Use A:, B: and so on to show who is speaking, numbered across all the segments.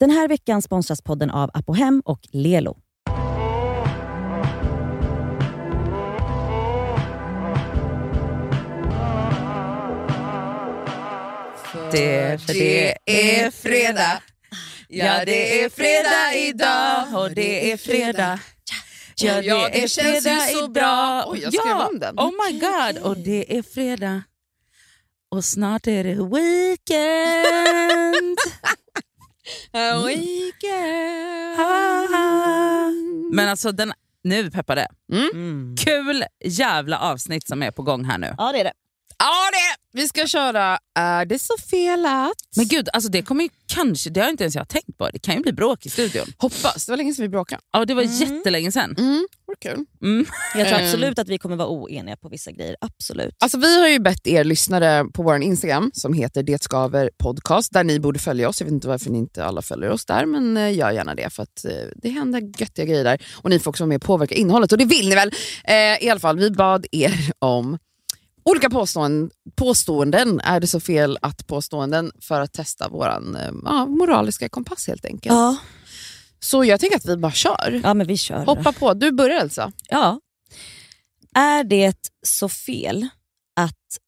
A: Den här veckan sponsras podden av Apohem och Lelo.
B: Det, för det är fredag. Ja, det är fredag idag och det är fredag. Ja, det är fredag idag.
C: Oj, jag skrev
B: ja,
C: om den.
B: Oh my god, och det är fredag. Och snart är det weekend. Mm. weekend. Men alltså, den, nu peppar det. Kul jävla avsnitt som är på gång här nu.
A: Mm. Ja, det är det.
C: Ja, det! Vi ska köra Är det så fel att...
B: Men gud, alltså det kommer ju kanske, det har inte ens jag tänkt på. Det kan ju bli bråk i studion.
C: Hoppas, det var länge sedan vi bråkade.
B: Ja, det var jättelänge sedan.
C: Mm. Vad kul.
B: Mm.
A: Jag tror
C: Ehm.
A: absolut att vi kommer vara oeniga på vissa grejer. Absolut.
C: Alltså, vi har ju bett er lyssnare på vår Instagram som heter Det Skaver Podcast, där ni borde följa oss. Jag vet inte varför ni inte alla följer oss där, men eh, gör gärna det för att eh, det händer göttiga grejer där. Och ni får också vara med och påverka innehållet och det vill ni väl? Eh, I alla fall, vi bad er om olika påståenden, påståenden, är det så fel att påståenden, för att testa vår eh, ja, moraliska kompass helt enkelt.
A: Ja.
C: Så jag tänker att vi bara kör.
A: ja, men vi kör. då.
C: Hoppa på. Du börjar Elsa.
A: Ja. Är det så fel att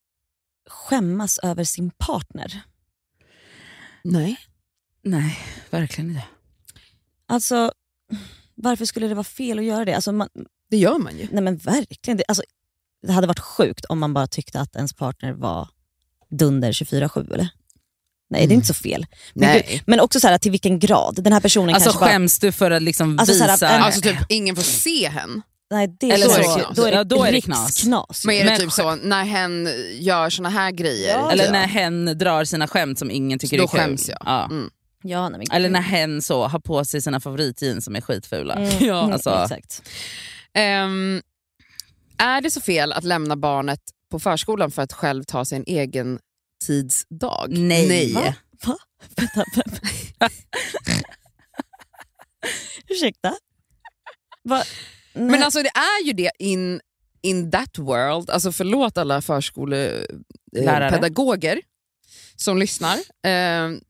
A: skämmas över sin partner?
C: Nej.
B: Nej, verkligen inte.
A: Alltså, varför skulle det vara fel att göra det? Alltså, man,
C: Det gör man ju.
A: nej men verkligen. Det, alltså, det hade varit sjukt om man bara tyckte att ens partner var dunder 24-7 eller? Nej, det är inte så fel. Men,
C: Nej.
A: gud, men också så här, till vilken grad? Den här personen
B: Alltså
A: kanske bara...
B: skäms du för att liksom
A: Alltså, så här,
B: visa...
A: äh,
C: Alltså typ ingen får se henne.
A: Nej, det är
B: Eller
A: så,
C: så är det knas.
A: då är det,
B: Ja, då är det
A: riksknas.
C: Men är det
B: Men
C: typ så när hen gör såna här grejer?
A: Ja.
B: eller
C: typ?
B: när hen drar sina skämt som ingen tycker
C: Då
B: är kul.
C: skäms jag.
B: Ja.
C: Mm.
A: Ja, nej, men gud.
B: Eller när hen så har på sig sina favoritjeans som är skitfula.
A: Mm, mm,
B: Alltså,
A: Exakt.
C: Ehm, är det så fel att lämna barnet på förskolan för att själv ta sin egen tidsdag?
B: nej.
C: Va?
A: Va? Vänta, vänta. Ursäkta? Va? Nej.
C: Men alltså det är ju det in, in that world. Alltså förlåt alla
B: Lärare.
C: förskolepedagoger som lyssnar. Ehm,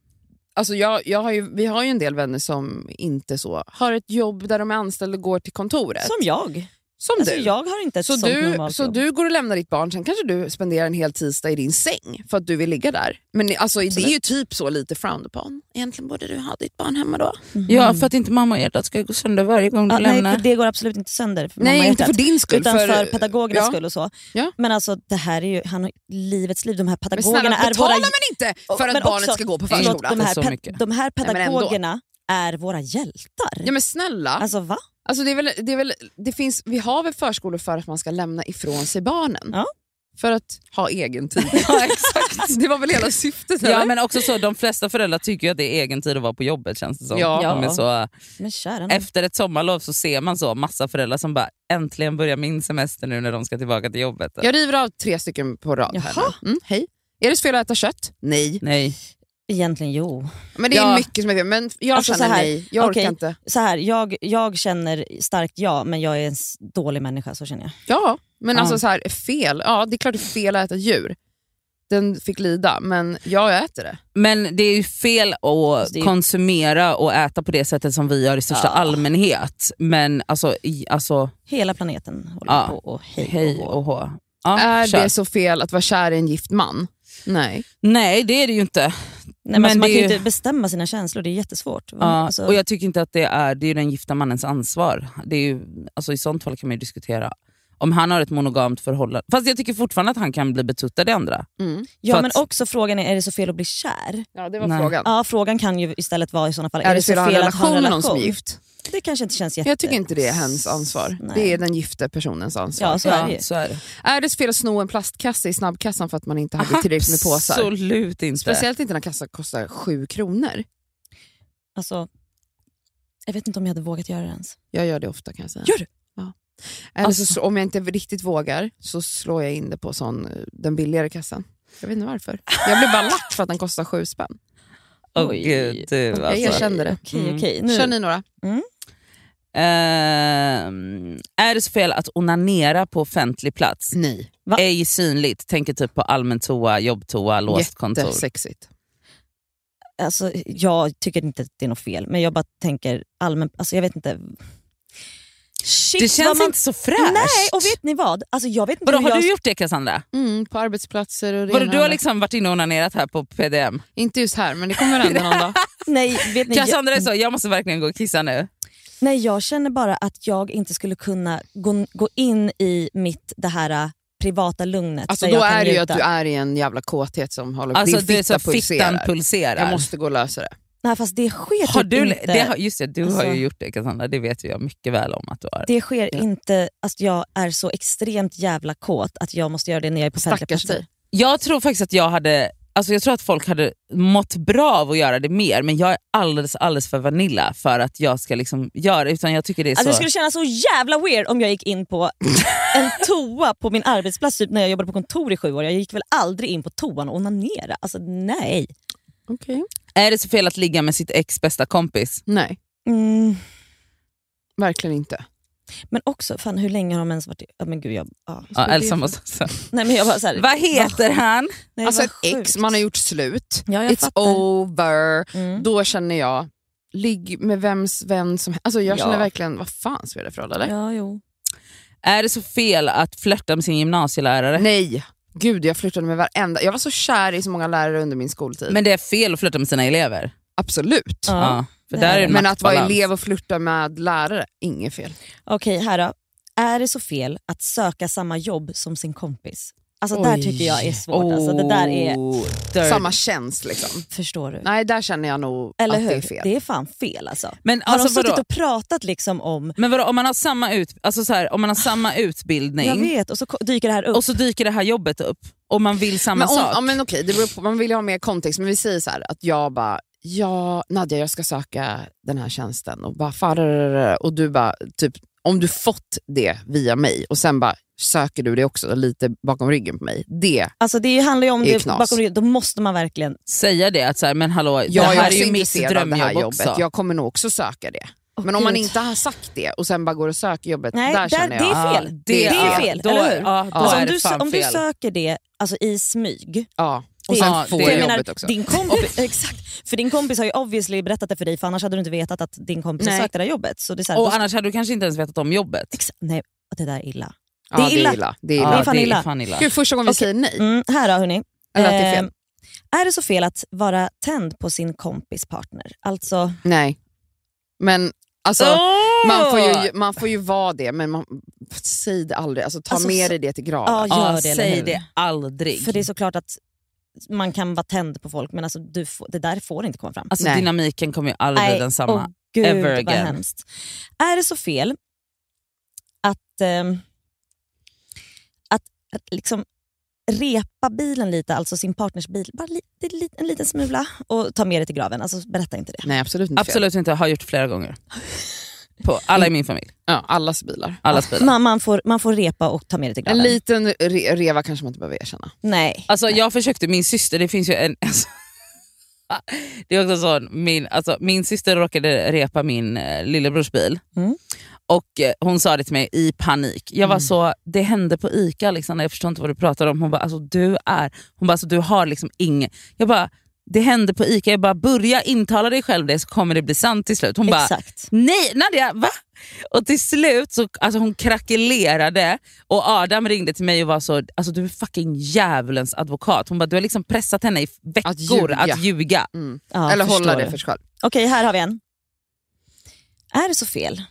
C: Alltså jag, jag har ju, vi har ju en del vänner som inte så har ett jobb där de är anställda och går till kontoret.
A: Som jag.
C: alltså- Som
A: Alltså,
C: du.
A: jag har inte ett
C: Så,
A: sånt
C: du,
A: normalt
C: så
A: jobb.
C: du går och lämnar ditt barn, sen kanske du spenderar en hel tisdag i din säng för att du vill ligga där. Men alltså, det är ju typ så lite frowned upon. Egentligen borde du ha ditt barn hemma då.
B: Ja, för att inte mamma och hjärtat ska gå sönder varje gång du
A: Mm. Ja, nej,
B: lämnar.
A: för det går absolut inte sönder för mamma
C: Nej, inte
A: hjärtat.
C: för din skull.
A: Utan för, pedagogernas
C: ja.
A: skull och så.
C: Ja.
A: Men alltså det här är ju han, har- livets liv. De här
C: Men
A: pedagogerna
C: snälla,
A: är
C: betalar
A: våra...
C: man inte för alltså, att
A: Men
C: barnet
A: också-
C: ska gå på
A: förlåt,
C: förskolan?
A: de, här
B: Inte så
A: pe-
B: mycket.
A: de här
C: men ändå.
A: pedagogerna är våra hjältar.
C: Ja men snälla,
A: Alltså va?
C: alltså det är väl, det är väl, det finns, vi har väl förskolor för att man ska lämna ifrån sig barnen?
A: Ja.
C: För att ha egen tid. exakt. Det var väl hela syftet?
B: Ja
C: eller?
B: men också så, de flesta föräldrar tycker ju att det är egen tid att vara på jobbet känns det som.
C: Ja.
B: De är så,
A: Men kära nån.
B: efter ett sommarlov så ser man så massa föräldrar som bara äntligen börjar min semester nu när de ska tillbaka till jobbet.
C: Jag river av tre stycken på rad här
A: Jaha.
C: nu. Mm, hej. Är det så fel att äta kött? Nej.
B: Nej.
A: Egentligen jo.
C: Men det är
B: Ja.
C: mycket som är fel. Men jag
A: Alltså,
C: känner
A: så här.
C: nej, jag
A: Okej.
C: orkar inte.
A: Så här, jag, jag känner starkt ja, men jag är en s- dålig människa. Så känner jag.
C: Ja, men
A: Ja.
C: alltså så här, fel. Ja, det är klart det är fel att äta djur. Den fick lida, men jag äter det.
B: Men det är ju fel att
A: Alltså, Det är ju-
B: konsumera och äta på det sättet som vi gör i största
A: Ja.
B: allmänhet. Men alltså, i, alltså
A: Hela planeten håller
B: Ja.
A: på och hej,
B: hej
A: och hå.
B: och hå. Ja,
C: är
B: kör.
C: det så fel att vara kär i en gift man? Nej.
B: Nej det är det ju inte.
A: Nej, men alltså,
B: Men
A: man kan
B: det
A: ju
B: är ju-
A: inte bestämma sina känslor, det är jättesvårt. Va?
B: Ja,
A: Alltså,
B: Mm. och jag tycker inte att det är, det är ju den gifta mannens ansvar. Det är ju, alltså I sånt fall kan man ju diskutera om han har ett monogamt förhållande. Fast jag tycker fortfarande att han kan bli betuttad i andra.
A: ja,
B: för
A: men
B: att-
A: också frågan är, är det så fel att bli kär?
C: Ja, det var
B: Nej.
C: frågan.
A: Ja, frågan kan ju istället vara i sådana fall,
C: Är det fel att ha en relation med någon som är
A: relation?
C: gift?
A: Det kanske inte känns jätte...
C: Jag tycker inte det är hens ansvar.
A: Nej.
C: Det är den gifte personens ansvar.
A: Ja, så är det ju.
B: så är det.
C: Är det så fel att sno en plastkasse i snabbkassan för att man inte hade tillräckligt med påsar?
B: Absolut inte.
C: Speciellt inte när kassan kostar sju kronor.
A: Alltså, jag vet inte om jag hade vågat göra det ens.
C: Jag gör det ofta kan jag säga.
A: Gör du?
C: Ja. Eller så,
B: Alltså.
C: sl- om jag inte riktigt vågar så slår jag in det på sån, eh, den billigare kassan. Jag vet inte varför. Jag blir bara lack för att den kostar sju spänn.
B: Åh,
A: Oj.
B: gud, du,
C: Jag
B: alltså.
C: erkänner det.
A: Okej,
B: Mm.
A: okej.
C: Kör
A: Nu.
C: ni några?
B: Ehm, är det så fel att onanera på offentlig plats?
A: Mm.
C: Nej.
A: Va?
B: Ej synligt, tänker typ på allmän toa, jobbtoa, låst kontor.
C: Jättesexigt.
A: alltså, jag tycker inte att det är något fel, men jag bara tänker allmänt, alltså, jag vet inte. Shit,
B: Det
A: vad
B: känns
A: man-
B: inte så fräscht.
A: Nej, och vet ni vad? Alltså, jag vet inte
B: Vadå,
A: hur
B: har
A: jag...
B: du gjort det Cassandra?
C: Mm, på arbetsplatser och det
B: Vadå,
C: ena
B: du har
C: och det-
B: liksom varit inne och onanerat här på PDM?
C: Inte just här, men det kommer hända någon dag.
A: Nej, vet ni, jag,
B: Cassandra är så, jag måste verkligen gå och kissa nu.
A: nej, jag känner bara att jag inte skulle kunna gå, gå in i mitt det här eh, privata lugnet.
C: Alltså,
A: där
C: då
A: jag kan
C: är det ju att
A: njuta.
C: du är i en jävla kåthet som håller på.
B: Alltså
C: Din
B: det är så
C: fitta
B: fittan
C: pulserar.
B: pulserar.
C: Jag måste gå och lösa det.
A: Nej, fast det sker
B: har
A: typ
B: du,
A: inte.
B: det har, just det, du har
A: Alltså-
B: ju gjort det Cassandra, det vet ju jag mycket väl om att du har.
A: Det sker inte att jag är så extremt jävla kåt att jag måste göra det när jag är på offentliga
C: Stackars
A: platser.
C: dig.
B: Jag tror faktiskt att jag hade Alltså jag tror att folk hade mått bra av att göra det mer, men jag är alldeles, alldeles för vanilla för att jag ska liksom göra det. Utan jag tycker det är
A: Alltså,
B: så...
A: det skulle kännas så jävla weird om jag gick in på en toa på min arbetsplats typ när jag jobbade på kontor i sju år. Jag gick väl aldrig in på toan och onanera. Alltså nej.
C: Okej.
B: Är det så fel att ligga med sitt ex bästa kompis?
C: Nej,
A: Mm.
C: verkligen inte.
A: Men också, fan hur länge har de ens varit i... Ja, men gud, jag, ja.
B: Ja,
C: det
B: Elsa
C: är
B: måste också.
A: nej, men jag var så här,
B: Vad heter han?
A: Nej,
C: Alltså
A: vad
C: ett ex,
A: sjukt.
C: man har gjort slut.
A: Ja, jag
C: It's
A: fattar.
C: over.
A: Mm.
C: Då känner jag, ligg med vems vän som helst. Alltså jag
B: Ja.
C: känner verkligen, vad fan spelar det för roll eller?
A: Ja, jo.
B: Är det så fel att flörta med sin gymnasielärare?
C: Nej, gud jag flörtade med varenda. Jag var så kär i så många lärare under min skoltid.
B: Men det är fel att flörta med sina elever.
C: Absolut.
A: Ja.
B: Ja. för där är det
C: Men att vara
B: maktbalans.
C: elev och flirta med lärare, inget fel.
A: Okej, här då. Är det så fel att söka samma jobb som sin kompis? Alltså där
C: Oj.
A: tycker jag är svårt. Alltså, det där är...
B: Oh, dirty.
C: Samma tjänst liksom.
A: Förstår du?
C: Nej, där känner jag nog
A: Eller
C: att
A: hur?
C: det är fel.
A: fan fel alltså.
B: Men,
A: Har
B: alltså,
A: de suttit
B: vadå?
A: och pratat liksom om...
B: Men vadå, om man har samma, ut, alltså så här, om man har samma
A: Jag
B: utbildning
A: vet, och så ko- dyker det här upp.
B: och så dyker det här jobbet upp och man vill samma
C: men om,
B: sak.
C: Ja, men okej, det beror på, man vill ju ha mer kontext, men vi säger så här att jag bara, ja Nadja jag ska söka den här tjänsten och bara fararara, och du bara, typ, om du fått det via mig och sen bara söker du det också lite bakom ryggen på mig. Det,
A: Alltså det handlar ju om
C: Det är
A: det
C: knas.
A: bakom ryggen. Då måste man verkligen...
B: Säga det att så här, men hallå,
C: jag
B: det
C: är
B: här
C: också
B: är ju mitt
C: intresserad av det här
B: drömjobb
C: jobbet,
B: också.
C: jag kommer nog också söka det.
A: Åh,
C: men om man
A: Gud.
C: inte har sagt det och sen bara går och söker jobbet,
A: Nej,
C: där,
A: där-
C: känner jag,
A: det är
B: Ja,
A: fel. Det är
B: ja,
A: fel,
B: då,
A: eller hur?
B: Ja, då
A: Alltså,
B: är
A: om,
B: det
A: du, sö-
B: fan
A: om du
B: fel.
A: söker det alltså, i smyg,
C: ja. Och
A: Det-
C: sen
B: Ja,
C: får
B: det-
A: För
C: jag
A: jag
C: jobbet också.
A: Din kompis, exakt, för din kompis har ju obviously berättat det för dig för annars hade du inte vetat att din kompis
C: Nej.
A: har sökt det där jobbet. Så det är så här, då-
B: Och annars hade du kanske inte ens vetat om jobbet.
A: ex- nej, det där är illa.
C: Ja,
A: det är illa.
C: Det är
B: Ja,
C: illa.
A: det är fan illa.
C: Gud, första gången vi säger nej,
A: Mm, här då hörni.
C: eller att det är fel.
A: Ehm, är det så fel att vara tänd på sin kompis partner? Alltså,
C: Nej. Men alltså,
B: Åh!
C: Man får, ju, man får ju vara det, men man, säg det aldrig. Alltså, ta
A: Alltså,
C: med
A: så-
C: dig det till graven.
A: ja, gör
B: Ja,
A: det eller
B: säg
A: hur?
B: det aldrig.
A: För det är såklart att man kan vara tänd på folk men alltså, du får, det där får inte komma fram.
B: alltså,
C: Nej.
B: dynamiken kommer ju aldrig bli
A: Nej,
B: densamma.
A: åh gud
B: Ever
A: vad
B: again.
A: hemskt. Är det så fel att, ehm, att, att liksom repa bilen lite, alltså sin partners bil, bara lite, lite, en liten smula och ta med det till graven? Alltså, berätta inte det.
C: Nej, absolut inte fel.
B: Absolut inte, har gjort flera gånger. På alla i min familj.
C: Ja, allas bilar.
B: Alla bilar.
A: Man, man, får, man får repa och ta med det till
C: En
A: graven.
C: liten re- reva kanske man inte behöver erkänna.
A: Nej.
B: Alltså jag försökte, min syster, det finns ju en... Alltså, det är också så, min, alltså, min syster råkade repa min eh, lillebrors bil.
A: Mm.
B: Och eh, hon sa det till mig i panik. Jag var
C: Mm.
B: så, det hände på ICA Alexandra, jag förstår inte vad du pratar om. Hon bara, alltså du är... Hon bara, alltså, du har liksom inget... Jag bara, det hände på ICA. Jag bara, börja intala dig själv det så kommer det bli sant till slut. Hon bara,
A: Exakt.
B: Nej, Nadja, va? Och till slut så alltså hon krackelerade och Adam ringde till mig och var så, alltså du är fucking djävulens advokat. Hon bara, du har liksom pressat henne i veckor
C: Att ljuga.
B: att ljuga.
C: Mm.
A: Ja,
C: Eller
A: förstår
C: hålla det
A: du.
C: för sig själv.
A: Okej, här har vi en. Är det så fel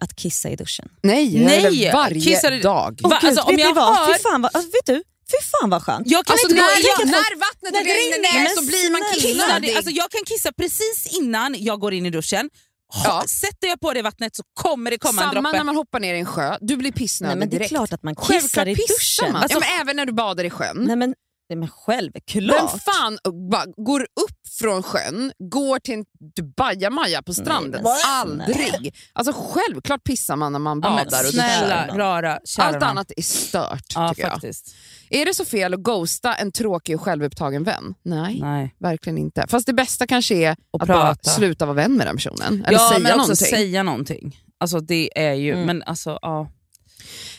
A: att kissa i duschen?
C: Nej, jag
B: Nej,
C: gör det varje
B: kissar du-
C: dag.
A: Åh
B: Va,
A: gud,
B: alltså, om
A: vet ni
B: jag
A: vad?
B: hör-
A: Fy fan vad, alltså, vet du? Fy fan vad skönt.
B: Jag kan
C: Alltså,
B: inte
C: när,
B: gå
C: jag,
B: jag,
C: när
A: när
C: vattnet
A: det
C: rinner
A: rinner,
C: ner
A: men
C: så blir man
A: snälla,
B: kan,
C: killad.
B: alltså, jag kan kissa precis innan jag går in i duschen. Ha-
C: Ja.
B: Sätter jag på det vattnet så kommer det komma en
C: Alltså, Samma
B: droppe.
C: när man hoppar ner i en sjö, du blir
A: Nej,
C: pissnödig
A: men det är
C: direkt.
A: klart att man kissar
C: Självklart
A: i
C: pissar
A: duschen.
C: man.
B: Alltså-
C: ja, men även när du badar i sjön.
A: Nej, men, Mm. nej, men självklart.
C: Vem fan bara, går upp från sjön, går till en bajamaja
B: Mm.
C: på stranden?
A: men
C: Aldrig! Alltså självklart pissar man när man
B: Ja,
C: badar.
B: men,
A: där
C: och
B: snälla,
A: och där.
B: rara, kära
C: Allt
B: nån.
C: annat är stört
B: Ja,
C: tycker jag.
B: faktiskt.
C: Är det så fel att ghosta en tråkig och självupptagen vän? Nej,
B: Nej.
C: verkligen inte. Fast det bästa kanske är
B: Och
C: att
B: prata.
C: bara sluta vara vän med den personen. Eller
B: ja,
C: säga
B: men också
C: någonting.
B: säga någonting. Alltså det är ju,
C: Mm.
B: men alltså ja.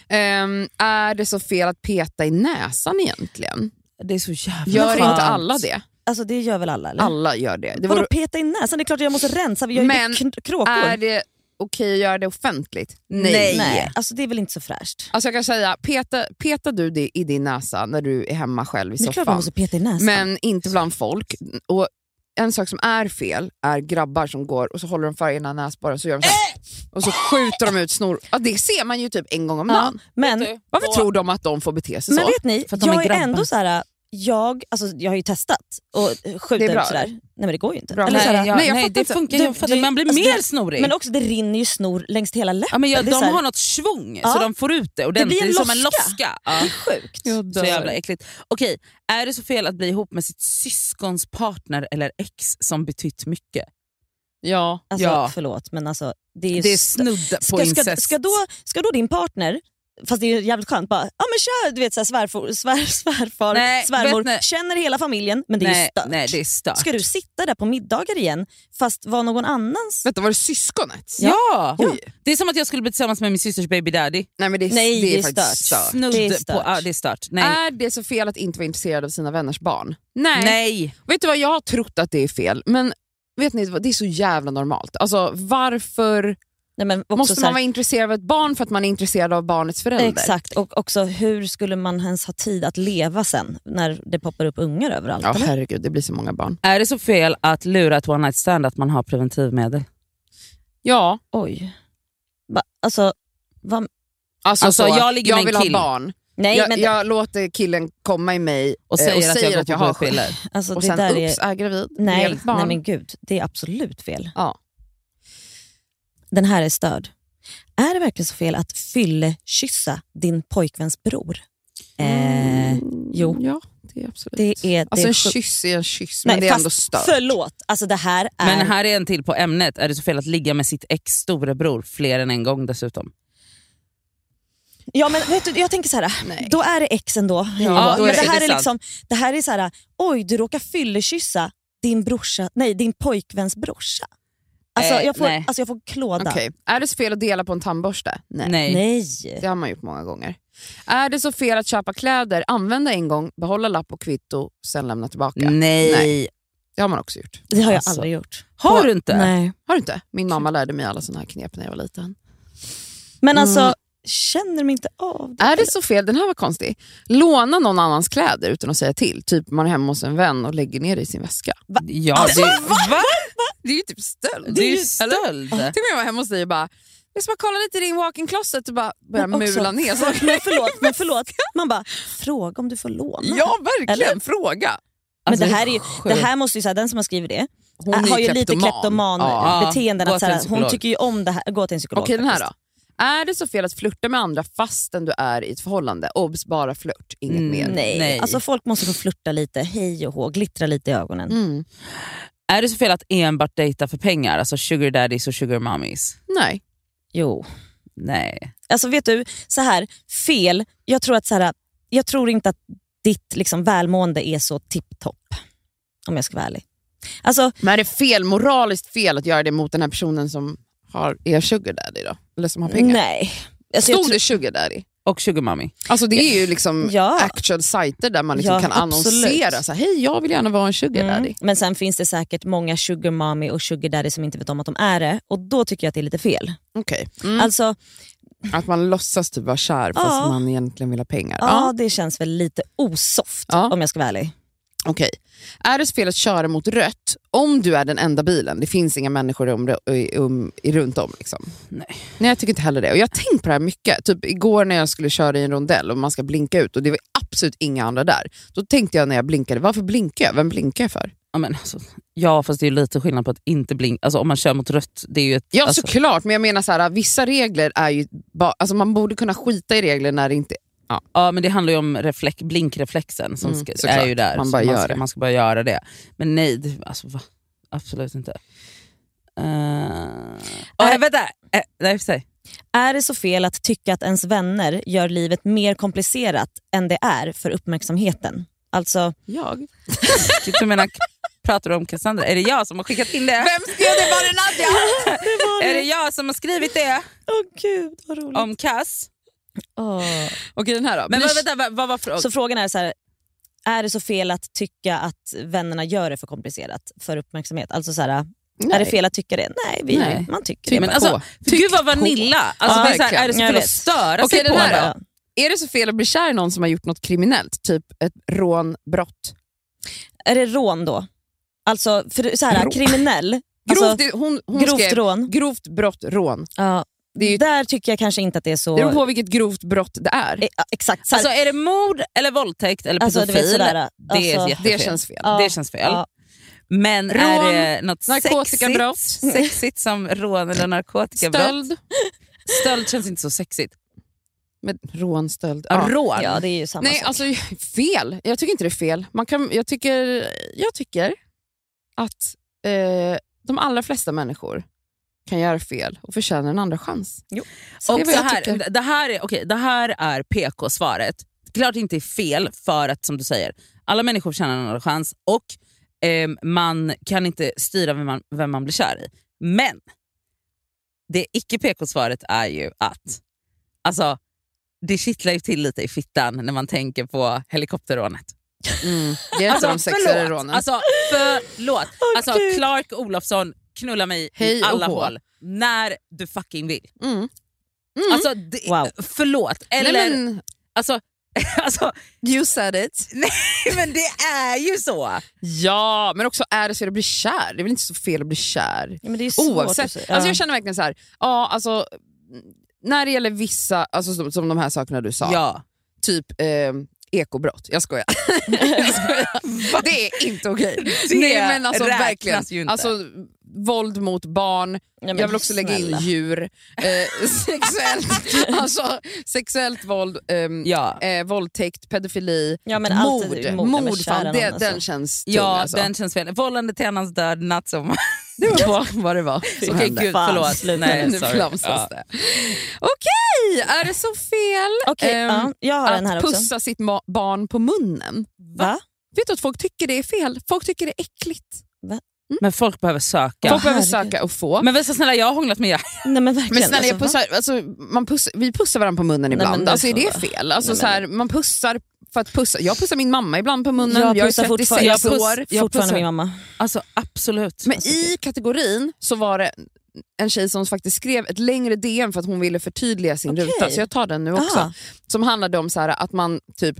C: Ehm, är det så fel att peta i näsan egentligen?
B: Det är så jävla
C: Gör
B: skönt.
C: inte alla det?
A: Alltså det gör väl alla? Eller?
C: Alla gör det. det
A: Vadå
C: vore-
A: peta in näsan? Det är klart jag måste rensa, jag är
C: Men
A: ju kn- kråkor.
C: är det okej att göra det offentligt?
B: Nej.
A: Nej, alltså det är väl inte så fräscht.
C: Alltså jag kan säga, peta, petar du det i din näsa när du är hemma själv i
A: Det är klart man
C: soffan,
A: måste peta i näsan.
C: men inte bland folk. Och en sak som är fel är grabbar som går och så håller de för ena näsborren så gör de så här, och så skjuter de ut snor. Ja, det ser man ju typ en gång om
A: Eh! Ja,
C: dagen.
B: Typ.
A: men
C: Varför tror de att de får bete sig
A: Men
C: så?
A: vet ni,
C: för att de är
A: jag är,
C: grabbar.
A: ändå så här. Jag, alltså, jag har ju testat och
C: Det är
A: skjuta
C: bra.
A: ut sådär. Nej men det går ju inte.
C: Bra.
A: Eller
B: Nej,
A: så här,
C: nej,
B: jag, nej,
C: jag fattar
B: det
C: inte.
B: funkar
A: Du-
B: inte. Jag fattar,
A: du-
B: man blir
A: alltså,
B: mer
A: det-
B: snorig.
A: men också det rinner ju snor längs hela läppen.
B: ja, men jag,
A: det är så
B: de
A: här-
B: har något svung
A: Ja.
B: så de får ut det
A: Det
B: ordentligt.
A: blir en
B: Det är som en
A: loska.
B: loska. Ja.
A: Det är sjukt.
B: Så jävla äckligt. Okej, är det så fel att bli ihop med sitt syskons partner eller ex som betytt mycket?
C: Ja.
A: Alltså,
B: Ja.
A: förlåt men alltså, det är ju...
B: Det är
A: st-
B: snudd på
A: ska, ska,
B: incest.
A: ska, då, ska då din partner, fast det är ju jävligt skönt, bara ja men kör du vet, så här, svärfor, svär, svärfar,
B: Nej,
A: svärmor,
B: vet ni-
A: känner hela familjen men det är ju
B: nej,
A: stört.
B: nej, det är stört.
A: Ska du sitta där på middagar igen fast vara någon annans?
C: Vänta, var det syskonets?
B: Ja!
C: Oj.
B: Det är som att jag skulle bli tillsammans med min systers baby daddy.
C: Nej, men det är,
A: Nej,
C: det är
A: det är
C: faktiskt
A: stört.
C: stört.
B: Snudd
A: Det är
B: på...
A: stört. Ah,
B: Ja, det är stört. Nej.
C: Är det så fel att inte vara intresserad av sina vänners barn?
B: nej.
C: Vet du vad, jag har trott att det är fel, men vet ni, vad, det är så jävla normalt. Alltså, varför
A: Nej, men också
C: måste
A: så
C: man
A: här,
C: vara intresserad av ett barn för att man är intresserad av barnets förälder?
A: Exakt, och också hur skulle man ens ha tid att leva sen när det poppar upp ungar överallt?
C: Ja,
A: eller?
C: herregud, det blir så många barn.
B: Är det så fel att lura ett one night stand att man har preventivmedel?
C: Ja,
A: Oj. Va, alltså, va,
C: alltså,
B: Alltså,
C: så,
B: jag ligger med en
C: vill
B: kille.
C: ha barn.
A: nej
C: jag,
A: men
C: jag låter killen komma i mig
B: Och
C: eh,
B: säger, att jag
C: säger
B: går
C: att jag
B: på
C: har sjukdom.
B: p-piller?
A: alltså,
C: Och
A: det
C: sen,
A: där
C: oops,
A: är...
C: är gravid. Det är
A: Nej,
C: ett barn.
A: nej men gud, det är absolut fel.
C: Ja.
A: Den här är störd. Är det verkligen så fel att fyllekyssa din pojkväns bror? Eh,
C: Mm,
A: jo.
C: Ja, det är absolut.
A: det är...
C: alltså
A: det
C: en
A: är sjukt.
C: kyss är en kyss,
A: Nej,
C: men det är
A: fast
C: ändå stört.
A: Förlåt, alltså det här är...
B: Men här är en till på ämnet. Är det så fel att ligga med sitt ex storebror fler än en gång dessutom?
A: Ja, men vet du, jag tänker så här,
C: Nej.
A: då är det ex ändå. hej och
B: Ja,
A: hå.
B: då är
A: men
B: det-
A: det, här
B: det
A: är
B: är
A: liksom, det här är så här, oj du råkar fyllekyssa din, brorsa, nej, din pojkväns brorsa. Alltså,
B: Eh,
A: jag, får,
B: nej.
A: alltså jag får klåda.
C: Okej. Är det så fel att dela på en tandborste?
B: Nej.
A: Nej.
C: Det har man gjort många gånger. Är det så fel att köpa kläder, använda en gång, behålla lapp och kvitto, sen lämna tillbaka?
B: Nej.
C: Nej. Det har man också gjort.
A: det har jag
B: Alltså,
A: aldrig gjort.
B: Har du inte?
A: Nej.
C: Har du inte? Min mamma lärde mig alla såna här knep när jag var liten.
A: Men alltså,
C: Mm.
A: känner mig inte av det.
C: Är det så fel, den här var konstig, låna någon annans kläder utan att säga till? Typ man är hemma hos en vän och lägger ner det i sin väska.
B: Ja, det, va?
C: Det är ju typ stöld.
B: Alltså, det är ju
C: Eller?
B: stöld.
C: Tänk om jag var hemma hos dig och bara, jag ska bara kolla lite i din walk-in closet och bara börja
A: Men också-
C: mula ner saker.
A: Men förlåt, men förlåt, man bara, fråga om du får låna.
C: Ja, verkligen.
A: Eller?
C: Fråga.
A: men
B: Alltså,
A: det här, är ju, det
B: sjukt.
A: här måste ju, så här, den som har skrivit det
C: Hon
A: har ju lite
C: Ja.
A: kleptoman-beteenden.
B: Ja,
A: att så här,
B: gå till en
A: hon
B: psykolog.
A: tycker ju om det här, gå till en psykolog.
C: Okej, den här
A: faktiskt.
C: då. Är det så fel att flirta med andra fastän du är i ett förhållande? Obs, bara flört, inget
B: Mm,
C: mer.
A: Nej.
B: Nej.
A: alltså folk måste få flirta lite, hej och hå, glittra lite i ögonen.
C: Mm.
B: Är det så fel att enbart dejta för pengar? Alltså sugar daddies och sugar mommies?
C: Nej.
A: Jo.
B: Nej.
A: Alltså vet du, så här, fel, jag tror, att, så här, jag tror inte att ditt liksom, välmående är så tipptopp. Om jag ska vara ärlig. Alltså,
C: Men är det fel, moraliskt fel att göra det mot den här personen som har, är sugar daddy då? Eller som har pengar?
A: nej. Alltså, jag
C: Stod
A: tror-
C: det sugar daddy?
B: Och sugar mommy.
C: Alltså det är ju liksom
A: Ja.
C: actual sajter där man liksom
A: Ja,
C: kan
A: absolut.
C: annonsera. Så här, Hej, jag vill gärna vara en sugar daddy.
A: Mm. Men sen finns det säkert många sugar mommy och sugar daddy som inte vet om att de är det och då tycker jag att det är lite fel.
C: Okej. Mm.
A: Alltså,
C: Att man låtsas typ vara kär fast
A: Ja.
C: man egentligen vill ha pengar.
A: ja. det känns väl lite osoft
C: Ja.
A: om jag ska vara ärlig.
C: Okej. Är det så fel att köra mot rött om du är den enda bilen? Det finns inga människor om, i- um, i- runt om. Liksom.
B: Nej.
C: Nej, jag tycker inte heller det. Och jag har tänkt på det här mycket. Typ igår när jag skulle köra i en rondell och man ska blinka ut och det var absolut inga andra där. Då tänkte jag när jag blinkade, varför blinkar jag? Vem blinkar jag för?
B: Ja, men alltså, ja fast det är ju lite skillnad på att inte blinka. Alltså, om man kör mot rött, det är ju ett...
C: Ja,
B: alltså,
C: såklart. Men jag menar så här, vissa regler är ju... Ba, alltså man borde kunna skita i regler när det inte...
B: ja, men det handlar ju om reflek- blinkreflexen som
C: Mm,
B: ska,
C: såklart.
B: är ju där.
C: Man
B: Så
C: bara gör
B: ska,
C: det.
B: man ska bara göra det. Men nej, det, alltså, va? absolut inte. Uh,
A: Äh,
B: vänta! Eh, nej, säg.
A: Är det så fel att tycka att ens vänner gör livet mer komplicerat än det är för uppmärksamheten? Alltså,
C: Jag?
B: Du menar, pratar du om Cassandra? Är det jag som har skickat in det?
C: Vem skrev det? Var det Nadja?
B: Är det jag som har skrivit det
A: åh gud vad roligt.
B: om Cass?
A: Åh.
C: Okej, den här då.
B: Men
C: Bli-
B: vad, vänta, vad, vad var frågan?
A: Så frågan är så här, Är det så fel att tycka att vännerna gör det för komplicerat för uppmärksamhet? Alltså så här,
C: Nej. typ,
A: Är det fel att tycka det? Nej, vi,
C: Nej.
A: man tycker
B: Men
A: det.
B: alltså, gud vad vanilla. Alltså,
C: Ja,
B: det är, så här, är
A: verkligen.
B: det så
A: Jag
B: fel att
A: vet.
B: störa
C: Okej,
B: sig på
C: den här
B: det?
C: då? Är det så fel att bli kär i någon som har gjort något kriminellt? Typ ett rån, brott?
A: Är det rån då? Alltså, för så här,
C: Rån.
A: kriminell.
C: Grovt,
A: alltså,
C: hon hon
A: grovt
C: skrev
A: rån.
C: grovt brott, rån.
A: Ja,
C: Det är ju-
A: Där tycker jag kanske inte att det är så...
C: Det beror på vilket grovt brott det är.
A: Eh, ja, Exakt. Så här,
B: Alltså, är det mord, eller våldtäkt eller
A: Alltså, du
B: pedofil?
A: vet, sådär,
B: det, är
A: alltså-
B: jättefel.
C: det känns fel.
A: Ja.
B: det känns fel.
A: Ja.
B: Men
C: Rån,
B: är det något
C: narkotikabrott.
B: sexigt, sexigt som rån eller narkotikabrott?
C: Stöld.
B: Stöld känns inte så sexigt.
C: Men rån, stöld.
B: Ja, Rån?
A: ja, det är ju samma
C: Nej,
A: sak.
C: alltså fel. Jag tycker inte det är fel. Man kan, jag, tycker, jag tycker att eh, de allra flesta människor kan göra fel och förtjänar en andra chans.
A: Jo.
C: Så det är
B: Och
C: vad
B: så
C: jag
B: här,
C: tycker.
B: det, här är, okej, det här är PK-svaret. Klart det inte är fel för att som du säger, alla människor tjänar en andra chans och ehm, man kan inte styra vem man, vem man blir kär i. Men det icke PK-svaret är ju att alltså, det kittlar ju till lite i fittan när man tänker på helikopterrånet.
C: Mm. Det är ett av de sexigare
B: förlåt.
C: rånen.
B: Alltså, förlåt.
A: Åh,
B: Alltså,
A: Gud.
B: Clark Olofsson, knulla mig
C: Hej
B: i
C: och
B: alla
C: hå.
B: hål. När du fucking vill.
C: mm. Mm.
B: Alltså, det,
A: Wow.
B: Förlåt. Eller,
C: Nej, men,
B: Alltså, alltså,
C: you said it.
B: men det är ju så.
C: Ja, men också är det så att bli kär. Det är väl inte så fel att bli kär?
A: Ja, men det är ju svårt att
C: Oavsett.
A: säga.
C: Alltså
A: Ja.
C: jag känner verkligen så här, ja, alltså, när det gäller vissa, alltså, som, som de här sakerna du sa,
B: Ja.
C: typ eh, ekobrott. Jag skojar. jag skojar. Det är inte okej.
B: Det
C: Nej, men alltså,
B: räknas
C: verkligen.
B: ju inte.
C: Alltså, våld mot barn,
A: Ja, men
C: jag vill också lägga in
A: snälla.
C: djur, eh, sexuellt, alltså, sexuellt våld, ehm,
B: Ja,
C: eh, våldtäkt, pedofili,
A: Ja, men
C: mord.
A: alltid
C: mord,
A: mord. Ja, men kära
C: fan,
A: någon,
C: det,
A: alltså.
C: Den känns tung.
B: ja
C: alltså.
B: den känns fel. Vållande till annans död, natt som...
C: Det var vad- vad det var som
B: Okej,
C: hände.
B: gud
A: Fan,
B: förlåt.
A: sluta
B: Nej,
C: nu
B: sorry.
C: flamsas
B: Ja.
C: det. Okej, är det så fel
A: Okej,
C: ehm,
A: ja, jag har den här
C: att
A: också.
C: pussa sitt ma- barn på munnen?
A: Va?
C: Vet du att folk tycker det är fel? Folk tycker det är äckligt.
B: Men folk behöver söka.
C: Folk behöver
A: herregud.
C: söka och få. Men,
B: Men vänta snälla, jag har hånglat med er.
A: Nej, men verkligen.
C: snälla, jag
A: alltså, va?
C: pussar, alltså, man puss, vi pussar varandra på munnen
A: Nej,
C: ibland.
A: men det
C: alltså, är
A: får
C: det
A: vara.
C: fel? Alltså,
A: Nej,
C: så här, man pussar för att pussa. Jag pussar min mamma ibland på munnen.
A: jag,
C: är
A: pussar
C: 36
A: fortfarande, jag puss,
C: år. Jag
A: fortfarande
C: pussar.
A: min mamma.
B: Alltså absolut.
C: Men
B: alltså,
C: i kategorin så var det en tjej som faktiskt skrev ett längre DM för att hon ville förtydliga sin
A: Okej.
C: ruta, så jag tar den nu också.
A: Ah.
C: Som handlade om så här, att man typ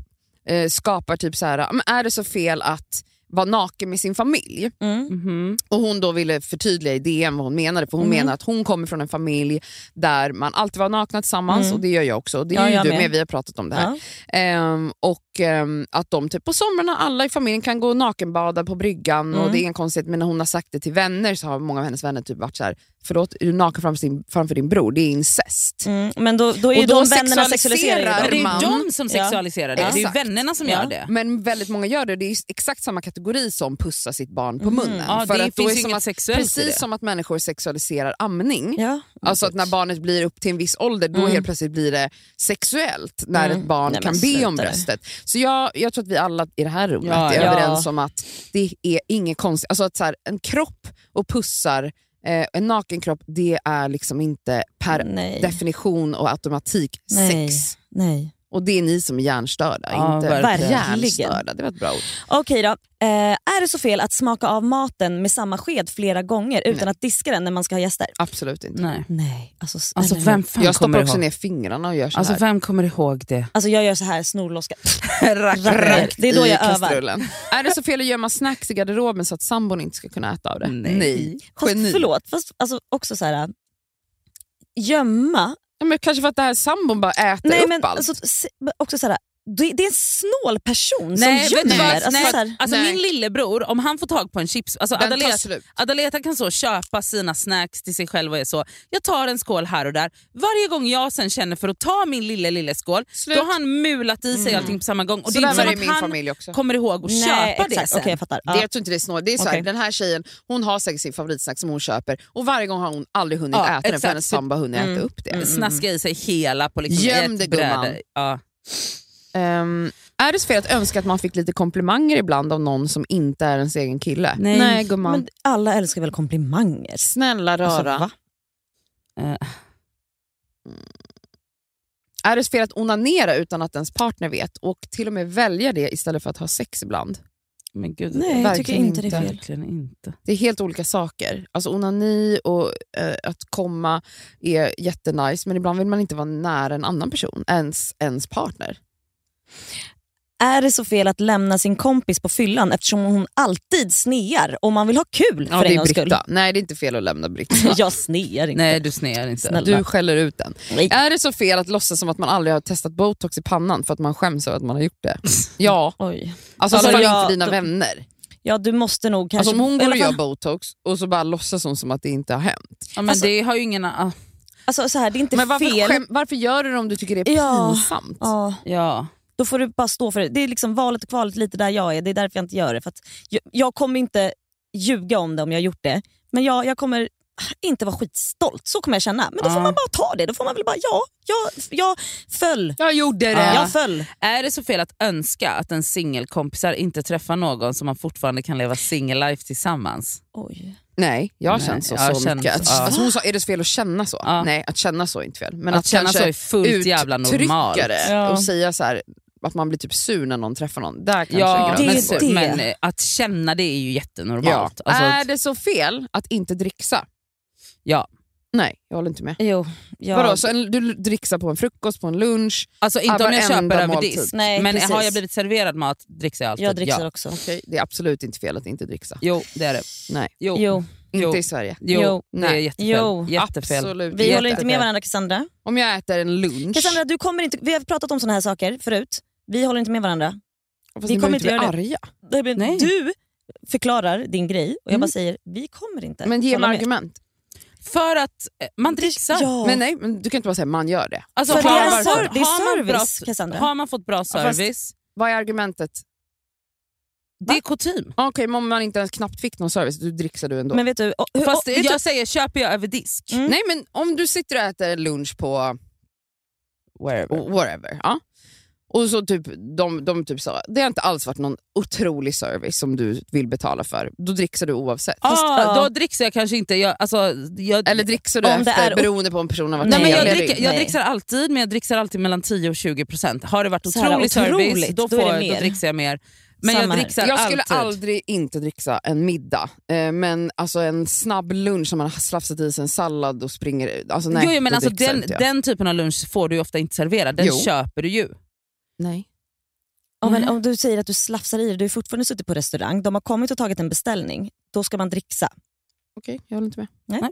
C: eh, skapar typ så här, men är det så fel att vara naken med sin familj?
A: Mm.
B: Mhm.
C: Och hon då ville förtydliga i DM vad hon menade, för hon
A: Mm.
C: menar att hon kommer från en familj där man alltid var nakna tillsammans,
A: Mm.
C: och det gör jag också. Det
A: Ja,
C: gör ju
A: jag
C: du
A: med.
C: med, vi har pratat om det här.
A: Ja.
C: Ehm, och ehm, att de typ på somrarna alla i familjen kan gå och nakenbada på bryggan och
A: Mm.
C: det är inget konstigt men när hon har sagt det till vänner så har många av hennes vänner typ varit så här: förlåt är du naken framför din, framför din bror? Det är incest.
A: Mm. Men då, då är ju
C: Och då
A: de vännerna sexualiserar ju
C: sexualiserar
A: dem.
B: Men det är ju
C: man-
B: de som
A: Ja.
B: sexualiserar det. Det är ju
C: Exakt.
B: vännerna som
A: Ja.
B: gör det.
C: Men väldigt många gör det och det är ju exakt samma kategori som pussa sitt barn på
A: Mhm.
C: munnen.
B: Mm. Ja,
C: För
B: det
C: att då
B: finns
C: är
B: ju
C: som
B: inget
C: att,
B: sexuellt i
C: precis
B: det.
C: som att människor sexualiserar amning,
A: Ja.
C: alltså att när barnet blir upp till en viss ålder då
A: Mm.
C: helt plötsligt blir det sexuellt när
A: Mm.
C: ett barn
A: Nej,
C: kan
A: men
C: be om
A: sluta nu.
C: bröstet. Så jag, jag tror att vi alla i det här rummet
B: Ja,
C: är
A: ja.
C: överens om att det är inget konstigt. Alltså att så här, en kropp och pussar, eh, en naken kropp, det är liksom inte per
A: Nej.
C: definition och automatik
A: Nej.
C: sex.
A: Nej.
C: Och det är ni som är hjärnstörda,
B: Ja,
C: inte
B: verkligen.
C: hjärnstörda. Det var ett bra ord.
A: Okej då. Eh, är det så fel att smaka av maten med samma sked flera gånger utan
C: Nej.
A: att diska den när man ska ha gäster?
C: Absolut inte.
B: Nej.
A: Nej. Alltså, snälla
B: Alltså
A: nån.
B: vem fan
C: jag
B: kommer
C: stoppar också
B: ihåg?
C: ner fingrarna och gör så
B: Alltså
C: här.
B: vem kommer ihåg det?
A: alltså, jag gör så här snorloska.
B: Rackare.
A: Rakt det är då
C: i
A: jag övar.
C: kastrullen. Är det så fel att gömma snacks i garderoben så att sambon inte ska kunna äta av det?
B: Nej.
A: Fast,
C: Geni.
A: förlåt, fast alltså, också så här gömma.
C: Ja, men kanske för att det här sambon bara äter
A: Nej,
C: upp
A: men,
C: allt.
A: alltså, se- också så här, det, det är en snål person
B: Nej,
A: som
B: vet du
A: gömmer.
B: vad?
A: Alltså,
B: Nej.
A: så här,
B: Alltså
C: Nej.
B: min lillebror, om han får tag på en chips... Alltså
C: Den tar
B: Adaleta,
C: slut.
B: Adaleta kan så köpa sina snacks till sig själv och är så. Jag tar en skål här och där. Varje gång jag sen känner för att ta min lille lille skål,
C: Slut.
B: då har han mulat i sig allting på samma gång. Och
C: så
B: det är
C: där var det i
B: inte som
C: min
B: att han
C: familj också.
B: kommer ihåg att
A: nej,
B: köpa det
A: exakt.
B: sen.
A: Okej, jag fattar.
C: Det,
A: Ja.
C: jag tror inte det är snål. Det är så här,
A: Okej.
C: Den här tjejen hon har säkert sin favoritsnack som hon köper och varje gång har hon aldrig hunnit
B: Ja,
C: äta den
B: exakt.
C: för hennes sambo har hunnit äta upp det.
B: Snaska i sig hela på liksom
C: Göm
B: ett
C: det,
B: bräde.
C: gumman.
B: Ja.
C: Ehm, är det så fel att önska att man fick lite komplimanger ibland av någon som inte är ens egen kille?
B: Nej.
C: gumman.
A: Men alla älskar väl komplimanger?
C: Snälla rara.
A: Alltså, va?
B: Eh,
C: Är det fel att onanera utan att ens partner vet och till och med välja det istället för att ha sex ibland?
B: Men gud,
A: Nej, jag tycker
C: Verkligen
A: inte det är
C: inte.
A: fel.
B: verkligen inte.
C: Det är helt olika saker. Alltså onani och eh, att komma är jättenice, men ibland vill man inte vara nära en annan person, ens, ens partner.
A: Är det så fel att lämna sin kompis på fyllan eftersom hon alltid snear och man vill ha kul för en
C: det är
A: gångs skull?
C: Britta. Nej, det är inte fel att lämna Britta.
A: Jag snear inte.
B: Nej, du snear inte.
A: Snälla.
C: Du skäller ut den.
A: Nej.
C: Är det så fel att låtsas som att man aldrig har testat botox i pannan för att man skäms över att man har gjort det? Ja,
A: Oj.
C: alltså,
A: Alltså,
C: i alla fall
A: jag-
C: inte dina vänner.
A: Ja, du måste nog kanske...
C: Alltså, om hon går och
A: i alla
C: gör
A: fall-
C: botox och så bara låtsas hon som att det inte har hänt.
B: Ja, men det har ju ingen... ah,
A: alltså, så här, det är inte
C: Men varför,
A: fel.
C: skäm, varför gör du det om du tycker det är
A: Ja.
C: pinsamt?
A: Ja,
B: Ja.
A: då får du bara stå för det. Det är liksom valet och kvalet lite där jag är. Det är därför jag inte gör det. För att jag, jag kommer inte ljuga om det om jag har gjort det. Men jag, jag kommer inte vara skitstolt. Så kommer jag känna. Men då får
B: Ja.
A: man bara ta det. Då får man väl bara, ja, jag, jag föll.
C: Jag gjorde det.
B: Ja.
A: Jag föll.
B: Är det så fel att önska att en singelkompisar inte träffar någon som man fortfarande kan leva singellife tillsammans?
A: Oj.
C: Nej, jag har
B: Nej,
C: känt så,
B: jag har
C: så
B: känt
C: mycket. Att,
B: så, ja.
C: alltså hon sa, är det så fel att känna så?
B: Ja.
C: Nej, att känna så är inte fel. Men
B: att känna så
C: kanske
B: är fullt jävla
C: uttrycka
B: normalt.
C: det
A: Ja.
C: och säga så här, att man blir typ sur när någon träffar någon. Där kanske
B: Ja,
A: det är
B: men,
C: gränsen går.
A: det.
B: men eh, att känna det är ju
C: Ja.
B: jättenormalt. Alltså,
C: är det så fel att inte dricksa?
B: ja.
C: Nej, jag håller inte med.
A: Jo, jag...
C: Vadå, så en, du dricksar på en frukost, på en lunch?
B: alltså inte
C: Ja,
B: om jag
C: varenda
B: köper över
C: måltid.
B: disk,
A: Nej,
B: men
A: precis.
B: har jag blivit serverad mat dricksar jag alltid.
A: Jag dricker
B: Alltså, ja.
A: också.
C: Okej, Det är absolut inte fel att inte dricksa.
B: Jo, det är det.
C: Nej.
B: Jo, jo.
A: Jo,
B: Jo.
C: Inte i Sverige.
A: Jo.
B: det är
C: Nej.
B: jättefel.
A: Jo.
B: jättefel.
C: Absolut
A: vi håller inte
C: fel.
A: med varandra Cassandra.
C: Om jag äter en lunch,
A: Cassandra, du kommer inte, vi har pratat om såna här saker förut. Vi håller inte med varandra.
C: fast
A: vi
C: ni
A: kommer inte
C: behöver inte bli
A: göra Nej,
C: arga.
A: men
B: Nej.
A: Du förklarar din grej och jag
C: Mm.
A: bara säger, vi kommer inte
C: Men ge
A: hålla
C: mig
A: med.
C: argument.
B: För att eh, man dricksar.
A: Ja.
C: Men nej, men du kan inte bara säga man gör det.
B: Alltså,
A: För det
B: har,
A: är,
B: man-
A: ser, det är
B: har man bra-
A: service, Cassandra.
B: har man fått bra
C: fast-
B: service,
C: Vad är argumentet? Ah,
B: det är kutym.
C: Okej, men om man inte ens knappt fick någon service, du dricksar du ändå.
A: Men vet du, och, hur-
B: Fast
A: och,
B: jag säger, köper jag över disk?
A: typ- Mm.
C: Nej men om du sitter och äter lunch på
B: Wherever.
C: whatever, ja. och så typ, de, de typ sa det har inte alls varit någon otrolig service som du vill betala för, då dricksar du oavsett.
B: Ah,
A: ja.
B: då dricksar jag kanske inte. Jag, alltså, jag,
C: Eller dricksar du
A: Om det
C: efter
A: är o-
C: beroende på om personen har varit
B: Nej, men jag,
A: Nej,
C: trevlig
B: dricker, jag
A: nej.
B: dricksar alltid, men jag dricksar alltid mellan 10 och 20 procent. Har det varit
A: Så här,
B: otrolig
A: otroligt,
B: service, då,
A: då är det
B: får, då
A: mer.
B: dricksar jag mer. Men
A: Samma
B: jag
A: här.
B: dricksar
C: Jag skulle
B: alltid.
C: aldrig inte dricksa en middag, eh, men alltså en snabb lunch som man har slafsat i sig en sallad och springer... Alltså nej,
B: jo, jo, men
C: då
B: alltså,
C: dricksar
B: den,
C: inte jag.
B: den typen av lunch får du ju ofta inte serverad, den
C: Jo.
B: köper du ju.
C: Nej.
A: om, men
B: Mm.
A: om du säger att du slafsar i dig, du är fortfarande suttit på restaurang, de har kommit och tagit en beställning, då ska man dricksa.
C: Okej, jag håller inte med.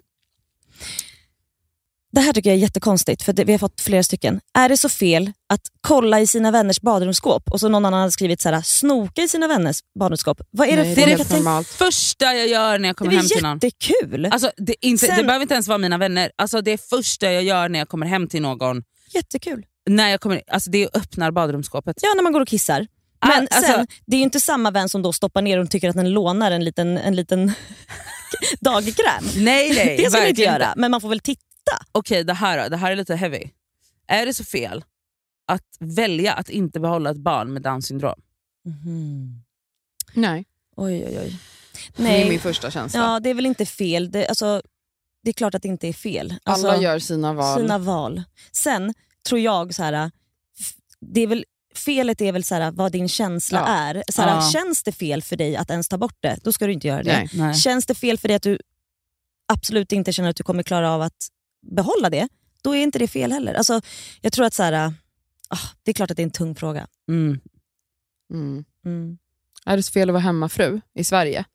A: Det här tycker jag är jättekonstigt, för det, vi har fått flera stycken. Är det så fel att kolla i sina vänners badrumsskåp? Och så någon annan hade skrivit så här, snoka i sina vänners badrumsskåp. Vad är
C: Nej,
A: det för
C: det är
A: jag kan
C: helt
A: tänka-
C: normalt.
B: Första jag gör när jag
A: Det
B: kommer hem till
A: är
B: någon.
A: jättekul.
B: Alltså, det, är inte, det
A: Sen-
B: behöver inte ens vara mina vänner. Alltså, det första jag gör när jag kommer hem till någon,
A: Jättekul.
B: när jag kommer, alltså, det är att öppna badrumsskåpet.
A: Ja, när man går och kissar.
B: Ah,
A: Men
B: alltså-
A: sen, det är ju inte samma vän som då stoppar ner och tycker att den lånar en liten, en liten dagkräm. Det
B: Nej, nej.
A: ska man inte
B: verkligen
A: göra, men man får väl titta.
B: Okej, det här, då, det här är lite heavy. Är det så fel att välja att inte behålla ett barn med down syndrom?
C: Nej,
A: Oj, oj, oj.
C: det är min
A: Nej,
C: första känsla.
A: ja, det är väl inte fel. Det, alltså, det är klart att det inte är fel. Alltså,
C: Alla gör sina val.
A: sina val. Sen tror jag, så här, f- det är väl, felet är väl så här, vad din känsla
C: Ja.
A: är. Så här,
B: Ja.
A: Känns det fel för dig att ens ta bort det, då ska du inte göra det.
C: Nej.
B: Nej.
A: Känns det fel för dig att du absolut inte känner att du kommer klara av att behålla det, då är inte det fel heller. Alltså, jag tror att så här, ah, det är klart att det är en tung fråga.
B: Mm.
C: Mm.
A: Mm.
C: Är det så fel att vara hemmafru i Sverige?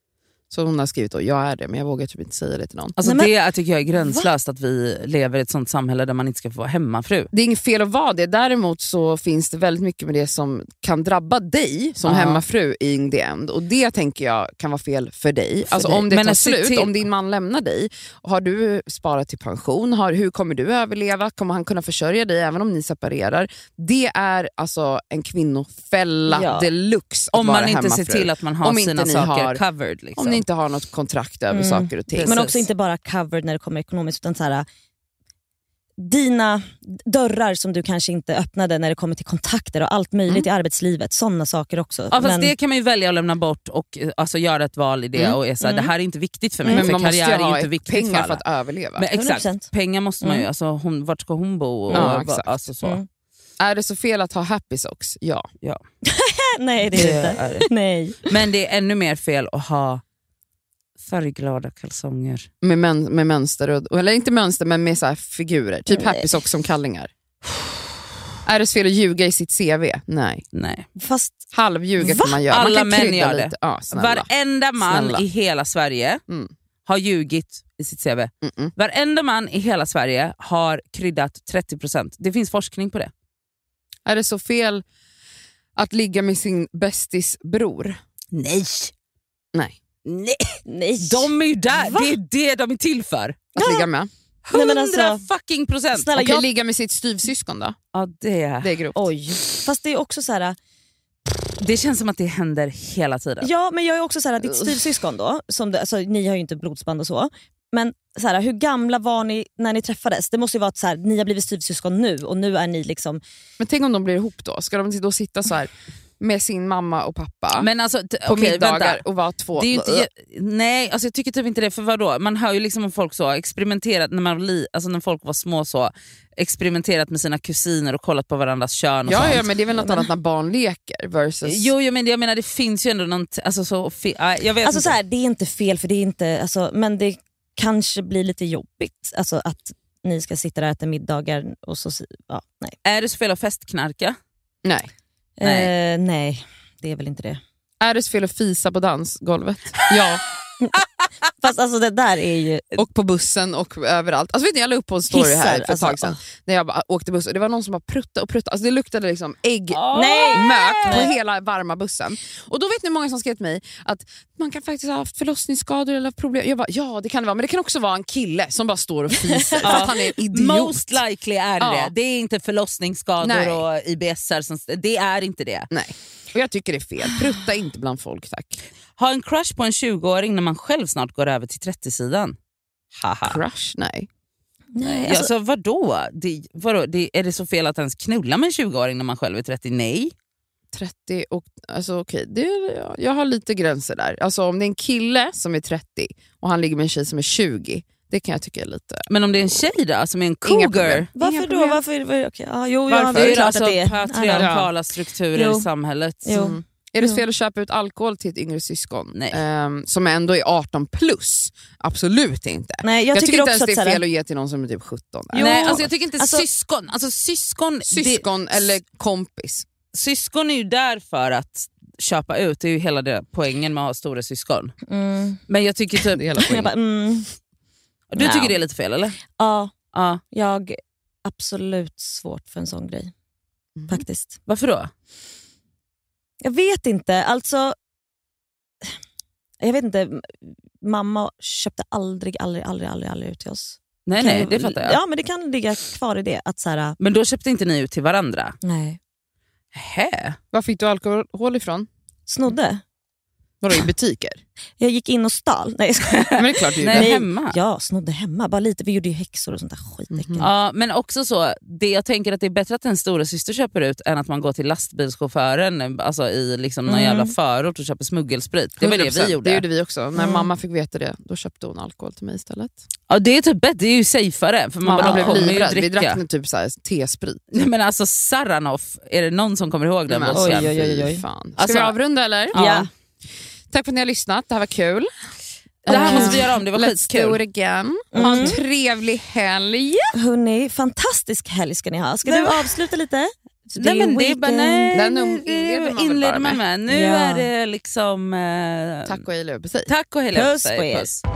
C: Så hon har skrivit då, jag är det men jag vågar typ inte säga det till någon.
B: Alltså
A: Nej, men-
B: det tycker jag är gränslöst att vi lever i ett sånt samhälle där man inte ska få vara hemmafru.
C: Det är inget fel att vara det, däremot så finns det väldigt mycket med det som kan drabba dig som
B: Ja.
C: hemmafru i the end. Och det tänker jag kan vara fel för dig. alltså
B: dig.
C: om det
B: Men
C: tar
B: att se
C: slut,
B: till-
C: om din man lämnar dig, har du sparat till pension? Har, hur kommer du överleva? Kommer han kunna försörja dig även om ni separerar? Det är alltså en kvinnofälla
A: Ja.
C: deluxe att
B: Om
C: vara
B: man inte ser
C: hemmafru.
B: till att man har
C: Om inte
B: sina
C: ni
B: saker
C: har-
B: covered. Liksom.
C: Om ni inte har något kontrakt över
A: Mm.
C: saker och ting.
B: Precis.
A: Men också inte bara covered när det kommer ekonomiskt, utan så här, dina dörrar som du kanske inte öppnade när det kommer till kontakter och allt möjligt i arbetslivet. Sådana saker också.
B: Mm. Ja, fast
A: Men-
B: Det kan man ju välja att lämna bort och eh, alltså, göra ett val i det
C: Mm.
B: och är såhär, det här är inte viktigt för mig,
C: Men
B: för
C: man måste ju
B: karriär är ju
C: ha
B: inte viktigt
C: pengar
B: för
C: för
B: alla.
C: att överleva.
B: Men exakt,
A: 100%.
B: pengar måste man ju, alltså, hon, vart ska hon bo? Och,
C: Ja,
B: och-
C: exakt.
B: Alltså, så.
A: Mm.
C: Är det så fel att ha happy socks? Ja.
A: Nej det är det inte.
B: är det.
A: Nej.
B: Men det är ännu mer fel att ha färgglada kalsonger.
C: Med, men, med mönster, och, eller inte mönster men med så här figurer. Typ
A: Nej.
C: happy socks som kallingar. Är det så fel att ljuga i sitt CV? Nej.
B: Nej.
A: Fast
C: Halvljuga
A: Va?
C: kan man göra. man
B: Alla
C: kan
B: män
C: krydda
B: gör det.
C: Lite. Ja, snälla.
B: Varenda man
C: Snälla.
B: i hela Sverige
C: Mm.
B: har ljugit i sitt CV.
C: Mm-mm.
B: Varenda man i hela Sverige har kryddat 30%. Det finns forskning på det.
C: Är det så fel att ligga med sin bästis bror?
B: Nej!
C: Nej.
B: Nej.
A: nej.
B: De är ju där,
A: Va?
B: det är det de är till för.
C: Att ligga med?
A: Nej,
B: 100
A: men alltså-
B: fucking procent!
A: Snälla,
C: Okej,
A: jag-
C: ligga med sitt styvsyskon då?
B: Ja, det,
C: Det
B: det.
C: är grovt.
A: Oj. Fast det är också så här,
B: känns som att det händer hela tiden.
A: ja men jag är också så här, ditt styvsyskon då, som det, alltså, ni har ju inte blodsband och så. Men så här, hur gamla var ni när ni träffades? Det måste ju vara att så här, ni har blivit styvsyskon nu och nu är ni liksom...
C: Men tänk om de blir ihop då? Ska de då sitta så här med sin mamma och pappa
B: Men alltså, t-
C: på
B: okej,
C: middagar
B: vänta.
C: och vara två?
B: Det är ju inte, jag- nej, alltså jag tycker typ inte det. För vadå? Man hör ju liksom om folk så experimenterat när, man, var li- alltså när folk var små så experimenterat med sina kusiner och kollat på varandras kön och
C: ja,
B: sånt.
C: ja, men det är väl något annat när barn leker versus...
B: Jo, jo, men jag menar det finns ju ändå någon... t- Alltså, så, fi- nej, jag vet
A: Alltså,
B: inte.
A: så här, det är inte fel för det är inte, alltså, men det kanske blir lite jobbigt alltså, att ni ska sitta där och äta middagar och så... si- Ja, nej.
B: Är det så fel att festknarka?
C: Nej.
B: Nej.
A: Nej. Eh, nej, det är väl inte det.
C: Är det så fel att fisa på dansgolvet? Ja.
A: Fast alltså det där är ju...
C: Och på bussen och överallt. Alltså vet ni, jag la upp på en story
A: Hissar,
C: här för ett
A: alltså,
C: tag sedan. När jag bara åkte buss och det var någon som bara prutta och prutta. Alltså det luktade liksom ägg.
A: Ah. Nej!
C: mök på hela varma bussen. Och då vet ni hur många som skrev till mig att man kan faktiskt ha haft förlossningsskador eller haft problem. Jag bara, ja det kan det vara, men det kan också vara en kille som bara står och fiser för att han är en idiot.
B: Most likely är det
C: Ja.
B: det. Det är inte förlossningsskador
C: Nej.
B: och IBSR. Som, det är inte det.
C: Nej, och jag tycker det är fel. Prutta inte bland folk tack.
B: Ha en crush på en 20-åring när man själv snart går över till 30-sidan. Haha.
C: Crush? Nej.
A: Nej,
B: Alltså, vadå? Det, vadå? Det, är det så fel att ens knulla med en 20-åring när man själv är 30? Nej.
C: 30 och... Alltså okej, det är- ja, jag har lite gränser där. Alltså om det är en kille som är 30 och han ligger med en tjej som är 20, det kan jag tycka är lite...
B: Men om det är en tjej då, som är en
C: Inga
B: cougar?
C: problem.
A: Varför
C: Inga
A: då?
C: problem.
A: Varför, var, okay. ja, jo,
B: Varför?
A: Ja, det är klart
B: alltså
A: att det är. Ja,
B: patriarkala strukturer
A: Jo.
B: i samhället.
A: Jo.
C: Mm. Är det
A: Ja.
C: fel att köpa ut alkohol till ett yngre syskon?
B: Nej.
C: Ehm, som ändå är 18 plus? Absolut inte.
A: Nej, jag,
C: Jag,
A: tycker,
C: tycker, inte
A: också
C: ens det
A: att...
C: är
A: så här-
C: fel att ge till någon som är typ 17. där.
A: Jo.
B: Nej, alltså jag tycker inte
A: Alltså-
B: syskon. Alltså syskon, det,
C: Syskon eller kompis.
B: syskon är ju där för att köpa ut, det är ju hela det, poängen med att ha stora syskon.
A: Mm.
B: Men jag tycker typ...
C: Det är hela
A: Jag bara,
C: poängen.
A: mm,
B: Du
A: Ja.
B: tycker det är lite fel eller?
A: ja,
B: Ja.
A: jag absolut svårt för en sån grej.
C: Mhm.
A: Faktiskt.
B: Varför då?
A: Jag vet inte, alltså... Jag vet inte, m- mamma köpte aldrig, aldrig, aldrig, aldrig, aldrig ut till oss.
B: Nej
A: Kan
B: nej,
A: ju-
B: det fattar jag.
A: Ja, men det kan ligga kvar i det. Att så här,
B: Men då köpte inte ni ut till varandra?
A: nej.
B: Hä?
C: Var fick du alkohol ifrån?
A: Snodde.
C: Vadå, i butiker?
A: Jag gick in och stal. Nej, jag skojar.
C: Men det är klart du
B: Nej,
C: gjorde.
B: hemma. Mm.
A: Ja, snodde hemma. Bara lite. Vi gjorde ju häxor och sånt där skitäckligt.
C: Mhm.
B: Ja, men också så, det jag tänker att det är bättre att en stora syster köper ut än att man går till lastbilschauffören alltså i liksom någon
A: Mm.
B: jävla förort och köper smuggelsprit. Det var det
C: 100%.
B: vi gjorde.
C: Det gjorde vi också. När
A: Mm.
C: mamma fick veta det, då köpte hon alkohol till mig istället.
B: Ja, det är typ bättre, det är ju safeare för man
C: Mamma
B: bara, de
C: blev
B: kommer ju
C: livrädd. Vi drack
B: dricka.
C: nu typ så här T-sprit.
B: Nej, men alltså Saranoff, är det någon som kommer ihåg den
C: Men
B: bussen?
A: oj, oj, oj, oj.
C: fy Fan. Ska
B: Alltså-
C: vi avrunda eller?
A: Ja.
C: Tack för att ni har lyssnat, det här var kul.
B: Det här
C: Eh,
B: måste vi göra om, det var
C: Let's do it
B: skitkul.
C: again. Ha en
A: Mm.
C: trevlig helg.
A: Hörni, fantastisk helg ska ni ha. Ska
B: Nej,
A: du avsluta lite?
B: Nej, men det är bara, nej,
C: Den
B: nej, det
C: inleder man väl
B: inleder
C: bara
B: man med. Nu
A: Ja.
B: är det liksom... Eh,
C: Tack och hej, leverpastej.
B: tack och hej
A: Puss
B: leverpastej.
A: på er.
B: Puss.